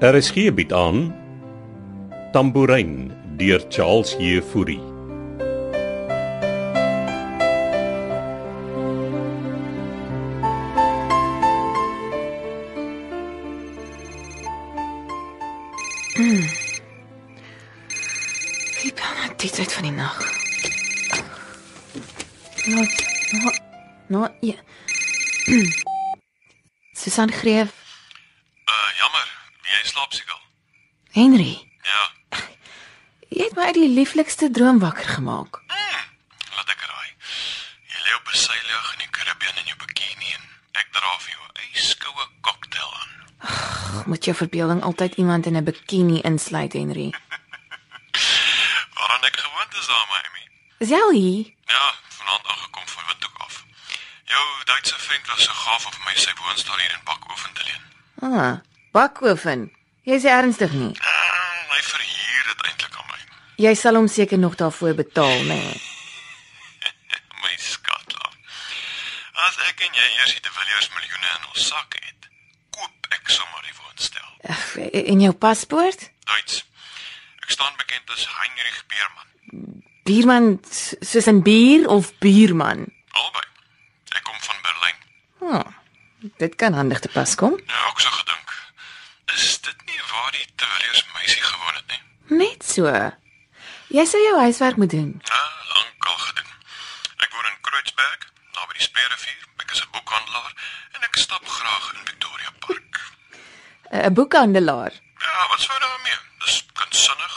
RSG bied Er aan Tambourin deur Charles Jefouri. Wie bel nou die tyd van die nag? Nou, nou, nou, ja. Susan Greef, Uh jammer, jy slaap seker. Henry, Ja, jy het my uit die lieflikste droom wakker gemaak. laat ek raai. Jy lê op 'n seilig in die Karibië in jou bikini en ek dra vir jou 'n yskoue cocktail aan. Ag, moet jou verbeelding altyd iemand in 'n bikini insluit, Henry. Waaraan ek gewoond is daar, my Amy. Is jy al hier? Ja, vanaand aangekom van Windhoek af. Jou Duitse vriend was so gaaf op my sy woonstel hier in Bakoven te leen. Ah, bakoven. Jy is ernstig nie. Uh, hy verhuur dit eintlik aan my. Jy sal hom seker nog daarvoor betaal, né? Nee. My skatla. As ek en jy eers die De Villiers miljoene in ons sak het, koop ek sommer die woonstel. Ag, en jou paspoort? Duits. Ek staan bekend as Heinrich Beerman. Bierman s- soos 'n bier of bierman? Albei. Ek kom van Berlyn. Oh, dit kan handig te pas kom. Ja, ek so gedink. Is dit nie waar die Tewelius meisie gewoon het nie? Net so. Jy sou jou huiswerk moet doen. Ja, lankal gedoen. Ek woon in Kreuzberg, naby die Speerrivier. Ek is 'n boekhandelaar en ek stap graag in Victoria Park. Eh, 'n 'n Boekhandelaar. Ja, wat sou daarmee? Dis kunstsinnig.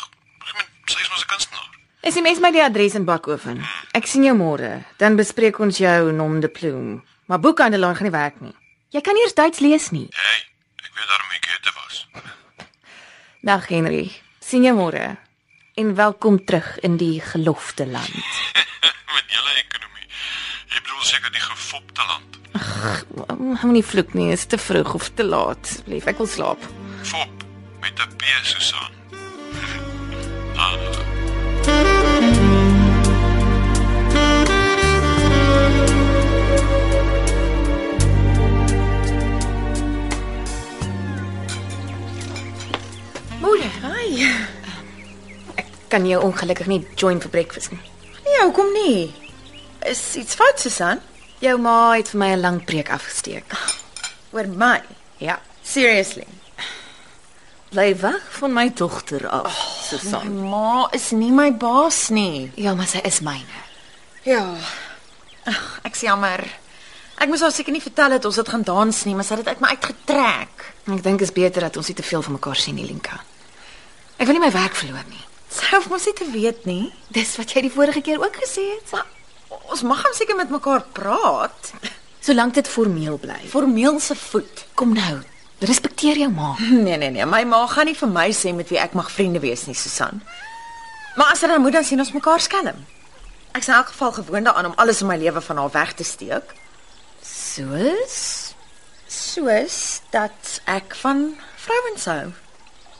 Ek meen, sy is mos 'n kunstenaar. SMS my die adres in Bakoven. Ek sien jou môre. Dan bespreek ons jou nom de plume. Maar boekhandelaar gaan nie werk nie. Jy kan nie eers Duits lees nie. Hey, ek weet daarom ek het was. Dag Henry. Sien jou môre. En welkom terug in die gelofte land. Met julle ekonomie. Jy bedoel seker die gefopte land. Moenie vloek nie, is te vroeg of te laat. Asseblief, ek wil slaap. Fop met 'n P Susan. Ah. Môre. Hi. Ek kan jou ongelukkig nie join vir breakfast nie. Nee, hoekom nie? Is iets fout, Susan? Jou ma het vir my 'n lang preek afgesteek. Oor my. Ja. Seriously. Bly weg van my dogter af, oh, Susan. Ma is nie my baas nie. Ja, maar sy is myne. Ja. Ag, ek's jammer. Ek moes haar seker nie vertel het ons het gaan dans nie, maar sy het dit uit my uitgetrek. Ek dink dit is beter dat ons nie te veel van mekaar sien nie, Linka. Ek wil nie my werk verloor nie. Sy hoef mos nie te weet nie. Dis wat jy die vorige keer ook gesê het. Maar ons mag hom seker met mekaar praat. Solank dit formeel bly. Formeel se voet. Kom nou. Respekteer jou ma. Nee, nee, nee. My ma gaan nie vir my sê met wie ek mag vriende wees nie, Susan. Maar as sy dan moet dan sien ons mekaar skelm. Ek's in elk geval gewoond daaraan om alles in my lewe van haar weg te steek. Soos Soos dat ek van vrouens hou.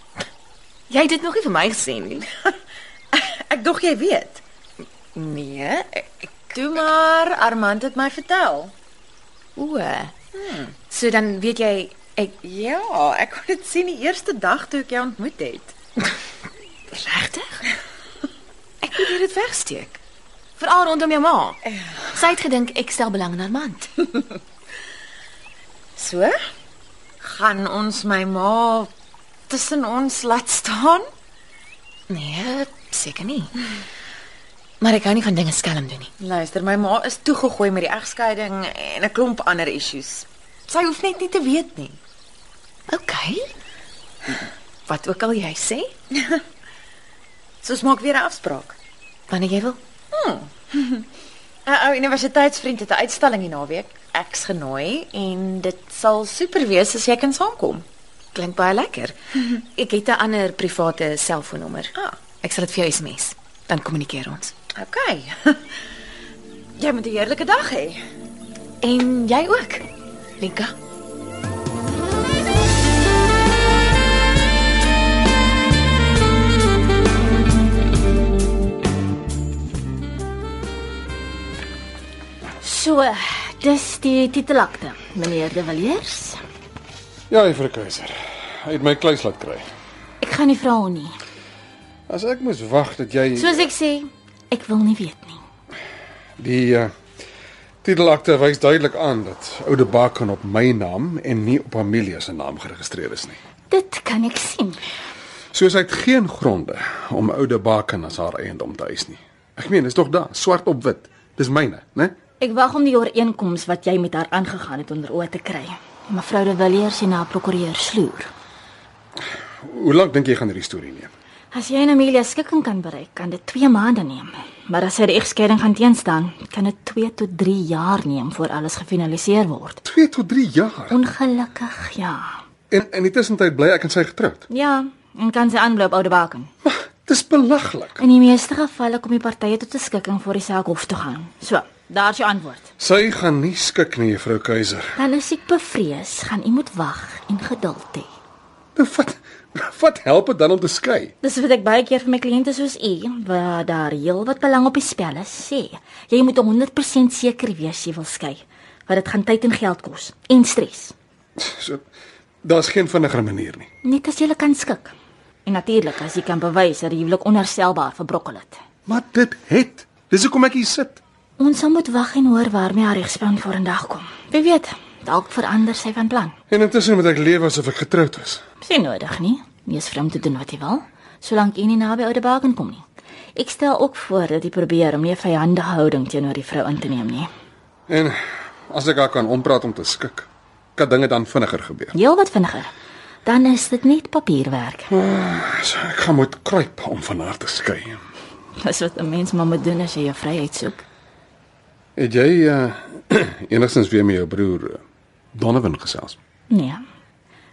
jy het dit nog nie vir my gesê nie. Ek dog jy weet. Nee, ek Toe maar, Armand het my vertel. o. So dan weet jy ek Ja, ek kon dit sien die eerste dag toe ek jou ontmoet het. regtig? Ek probeer dit wegsteek. Veral rondom jou ma. Sy het gedink ek stel belang in haar man. So? Gaan ons my ma tussen ons laat staan? Nee, seker nie. Maar ek hou nie van dinge skelm doen nie. Luister, my ma is toegegooi met die egskeiding en 'n klomp ander issues. Sy hoef net nie te weet nie. OK. Wat ook al jy sê, So ons maak weer 'n afspraak. wanneer jy wil. 'n Ou universiteitsvriend het 'n uitstalling hierdie naweek. Ek's genooi en dit sal super wees as jy kan saamkom. Klink baie lekker. Ek het 'n ander private selfoonnommer. Ah. Ek sal dit vir jou SMS. Dan kommunikeer ons. OK. Jy moet 'n heerlike dag hê. En jy ook. Linka. So, dis die titelakte, meneer De Villiers. Ja, juffrou Keiser. Hy het my kluis laat kry. Ek gaan nie vra hom nie. As ek moes wag dat jy Soos ek sê, ek wil nie weet nie. die uh, titelakte wys duidelik aan dat oude Bakan op my naam en nie op Amelia se naam geregistreer is nie. Dit kan ek sien. Soos hy het geen gronde om oude Bakan as haar eiendom te eis nie. Ek meen, is tog daar swart op wit. Dis myne, né? Ek wag om die ooreenkoms wat jy met haar aangegaan het onder oë te kry. Mevrou de Villiers en haar prokureur sloer. Hoe lank dink jy gaan hierdie storie neem? As jy en Amelia skikking kan bereik, kan dit 2 maande neem. Maar as hy die egskeiding gaan teenstaan, kan dit 2 tot 3 jaar neem voor alles gefinaliseer word. 2 tot 3 jaar. Ongelukkig, ja. En in die tussentyd bly ek en sy getroud. Ja, en kan sy aanloop oude baken. Maar dis belaglik. In die meeste gevalle kom die partye tot 'n skikking voor die saak hof toe gaan. So, daar's jou antwoord. Sy gaan nie skik nie, mevrou Keiser. Dan is ek bevrees, gaan u moet wag en geduld hê. Nou wat wat help dit dan om te skei? Dis wat ek baie keer vir my kliënte soos u, waar daar heelwat belang op die spel is, sê. Jy moet 100% seker wees jy wil skei, want dit gaan tyd en geld kos en stres. So daar's geen vinniger manier nie. Net as jy kan skik. En natuurlik as jy kan bewys dat die huwelik onherstelbaar verbrokkel het. Maar dit het. Dis hoekom ek hier sit. Ons sal moet wag en hoor waarmee haar regspan voor 'n dag kom. Wie weet, dalk verander sy van plan. En intussen moet ek leef asof ek getroud was. Sien nodig nie. Nie is vreemd te doen wat jy wil, solank jy nie naby oude baken kom nie. Ek stel ook voor dat jy probeer om nie 'n vyandige houding teenoor die vrou in te neem nie. En as ek haar kan ompraat om te skik, kan dinge dan vinniger gebeur. Ja. Heel wat vinniger. Dan is dit net papierwerk. So ek gaan moet kruip om van haar te skei. Dis wat 'n mens maar moet doen as jy jou vryheid soek. Het jy uh, enigstens weer met jou broer eh, Donovan gesels? Nee.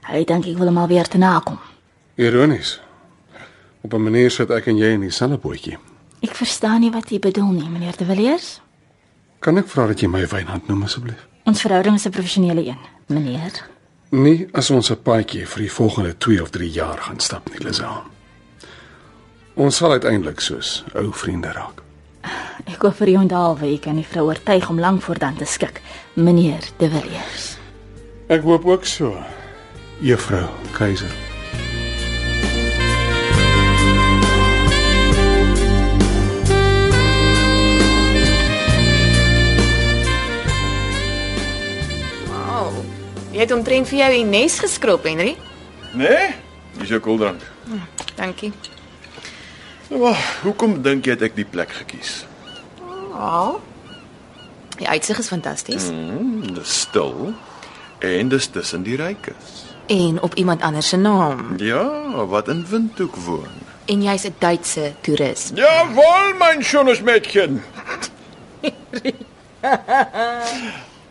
Hy dink ek wil hom alweer te nakom. Ironies. Op 'n manier sit ek en jy in dieselfde bootjie. Ek verstaan nie wat jy bedoel nie, meneer De Villiers. Kan ek vra dat jy my Wynand noem asseblief? Ons verhouding is 'n professionele een, meneer. Nee, as ons 'n paadjie vir die volgende 2 of 3 jaar gaan stap nie, Lisel. Ons sal uiteindelik soos ou vriende raak. Ek hoop vir jou onthaalwe, ek kan die vrou oortuig om lank voor dan te skik, meneer De Villiers. Ek hoop ook so. Juffrou Keiser. Wow. Oh, Jy het omtrent vir jou in nes geskrob, Henry. Nee, dis jou koeldrank. Dankie. Wel, hoekom dink jy het ek die plek gekies? Ja. Die uitsig is fantasties mm. Hmm, dis stil en dis tussen die rykes. en op iemand anders se naam. Ja, wat in Windhoek woon. En jy's 'n Duitse toerist. Jawohl, mein schönes Mädchen.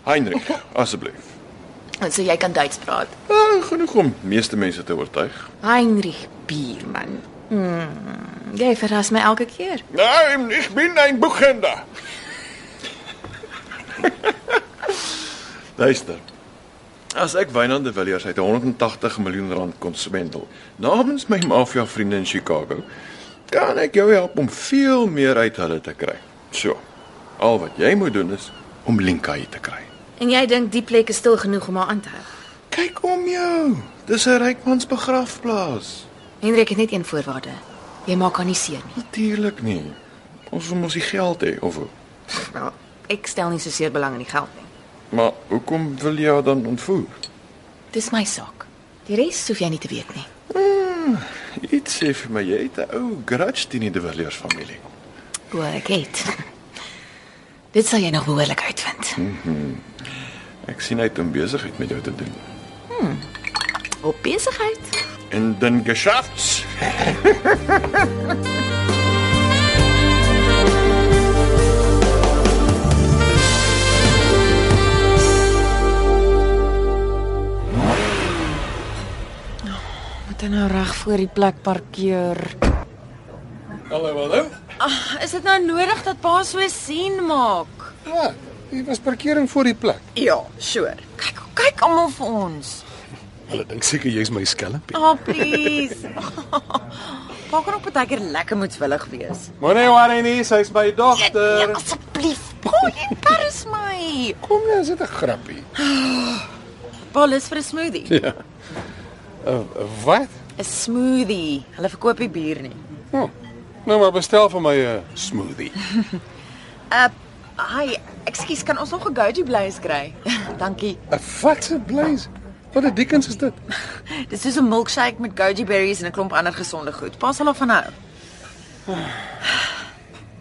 Heinrich, asseblief. So jy kan Duits praat. Ah, genoeg om meeste mense te oortuig. Heinrich Bierman. Mm. Jy verras my elke keer. Nein, ich bin ein Buchhändler. Luister. As ek Wynand de Villiers uit 180 miljoen rand kon swendel namens my mafia vriende in Chicago, kan ek jou help om veel meer uit hulle te kry. So. Al wat jy moet doen is om Linkai te kry. En jy dink die plek is stil genoeg om haar aan te hou. Kyk om jou. Dis 'n rykmans begrafplaas. Hendrik het net een voorwaarde. Jy maak haar nie seer nie. Natuurlik nie. Ons wil mos die geld hê of hoe? Nou, ek stel nie so seer belang in die geld nie. Maar hoekom wil jy haar dan ontvoer? Dis my saak. Die res hoef jy nie te weet nie. Iets sê vir my jy het 'n ou grudge teen die De Villiers familie. O, ek het. Dit sal jy nog behoorlik uitvind. Ek sien uit om besigheid met jou te doen. Op besigheid. In den Geschäfts. Moet hy nou reg voor die plek parkeer? Hallo, hallo. Is dit nou nodig dat pa so sien maak? Wat? Ja, Hier was parkering voor die plek. Ja, sure. Kyk, kyk almal vir ons. Hulle dink seker jy's my skelmpie. Ah, oh, please. Pa kan ook baie keer lekker moedswillig wees. Moenie worry nie, sy's my dogter. Asseblief, pa, jy embarrass my. ja, Kom nou, is dit 'n grappie? Pa lus vir 'n smoothie. Ja. Uh, wat? 'n Smoothie. Hulle verkoop nie bier nie. Oh, nou maar bestel vir my 'n smoothie. Uh hi, ekskuus, kan ons nog 'n go-to blaze kry? Dankie. 'n Watse blaze. Wat 'n dikkens is dit? Dis soos 'n milkshake met goji berries en 'n klomp ander gesonde goed. Pas sal daarvan hou.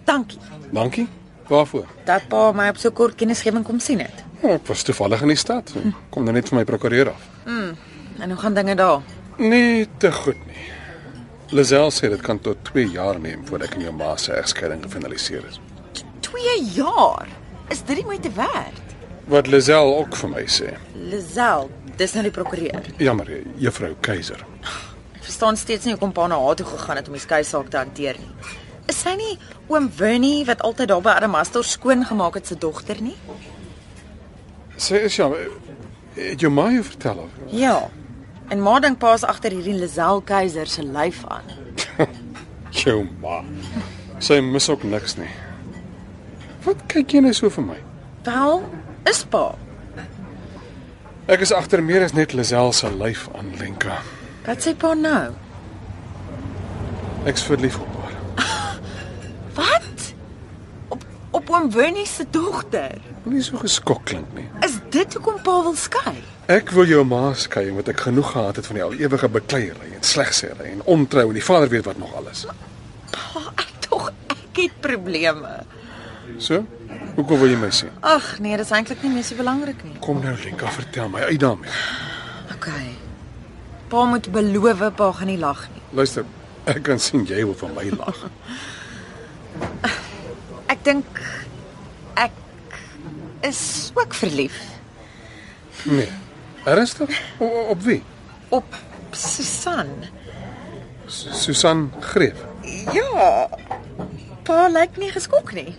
Dankie. Dankie. Waarvoor? Dat pa my op so kort kennisgewing kom sien het. Ja, ek was toevallig in die stad. Kom dan net vir my prokureur af. En hoe gaan dinge daar? Nee, te goed nie. Lazel sê dit kan tot 2 jaar neem voordat ek en jou ma se egskeiding gefinaliseer is. 2 jaar. Is dit die moeite werd? Wat Lazel ook vir my sê. Lazel, dis nou die prokureur. Jammer, eh, juffrou Keiser. Ek verstaan steeds nie hoekom pa na haar toe gegaan het om die skei saak te hanteer nie. Is sy nie oom Winnie wat altyd daar by Adamastor skoon gemaak het se dogter nie? Sê is ja, het jou ma jou vertel of? Ja. En ma dink pa's agter hierdie Lazel Keiser se lyf aan. Jou ma. Sy mis ook niks nie. Wat kyk jy nou so vir my? Wel, is pa. Ek is agter meer as net Lazel se lyf aan Lenka. Wat sê pa nou? Ek's verlief op haar. Wat? Op op oom Winnie se dogter. Moenie so geskok klink nie. Is dit hoekom pa wil skei? Ek wil jou ma skei omdat ek genoeg gehad het van die al ewige bekleierery en slegsêry en ontrou en die vader weet wat nog alles. Pa, ek tog ek het probleme. So? Hoekom wil jy my sien? Ag nee, dis eintlik nie meer so belangrik nie. Kom nou Lenka, vertel my uit daarmee. OK. Pa moet beloof pa gaan nie lag nie. Luister, ek kan sien jy wil van my lag. Ek dink ek is ook verlief Nee. Ernstig? O, o, op wie? op Susan. Su- Susan Greef. Ja. Pa lyk nie geskok nie.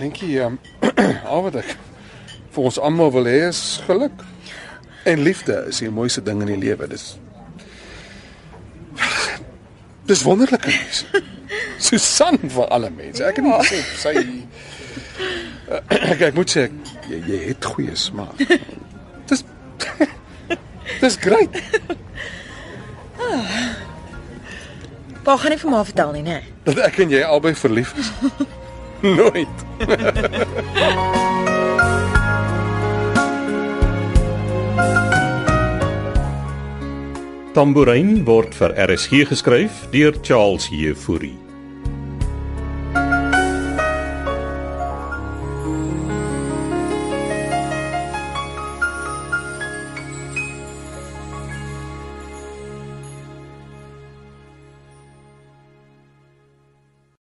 Lenkie, um, al wat ek vir ons almal wil hê is geluk. En liefde is die mooiste ding in die lewe. Dis Dis wonderlike mens. Susan vir alle mense. Ek het nie gesê sy Eh, ek, ek moet sê ek, jy, jy het goeie smaak. Dis Dis great. Pa gaan nie vir ma vertel nie, né? Nee. dat ek en jy albei verlief is. Nooit. Tambourin word vir RSG geskryf deur Charles Heffury.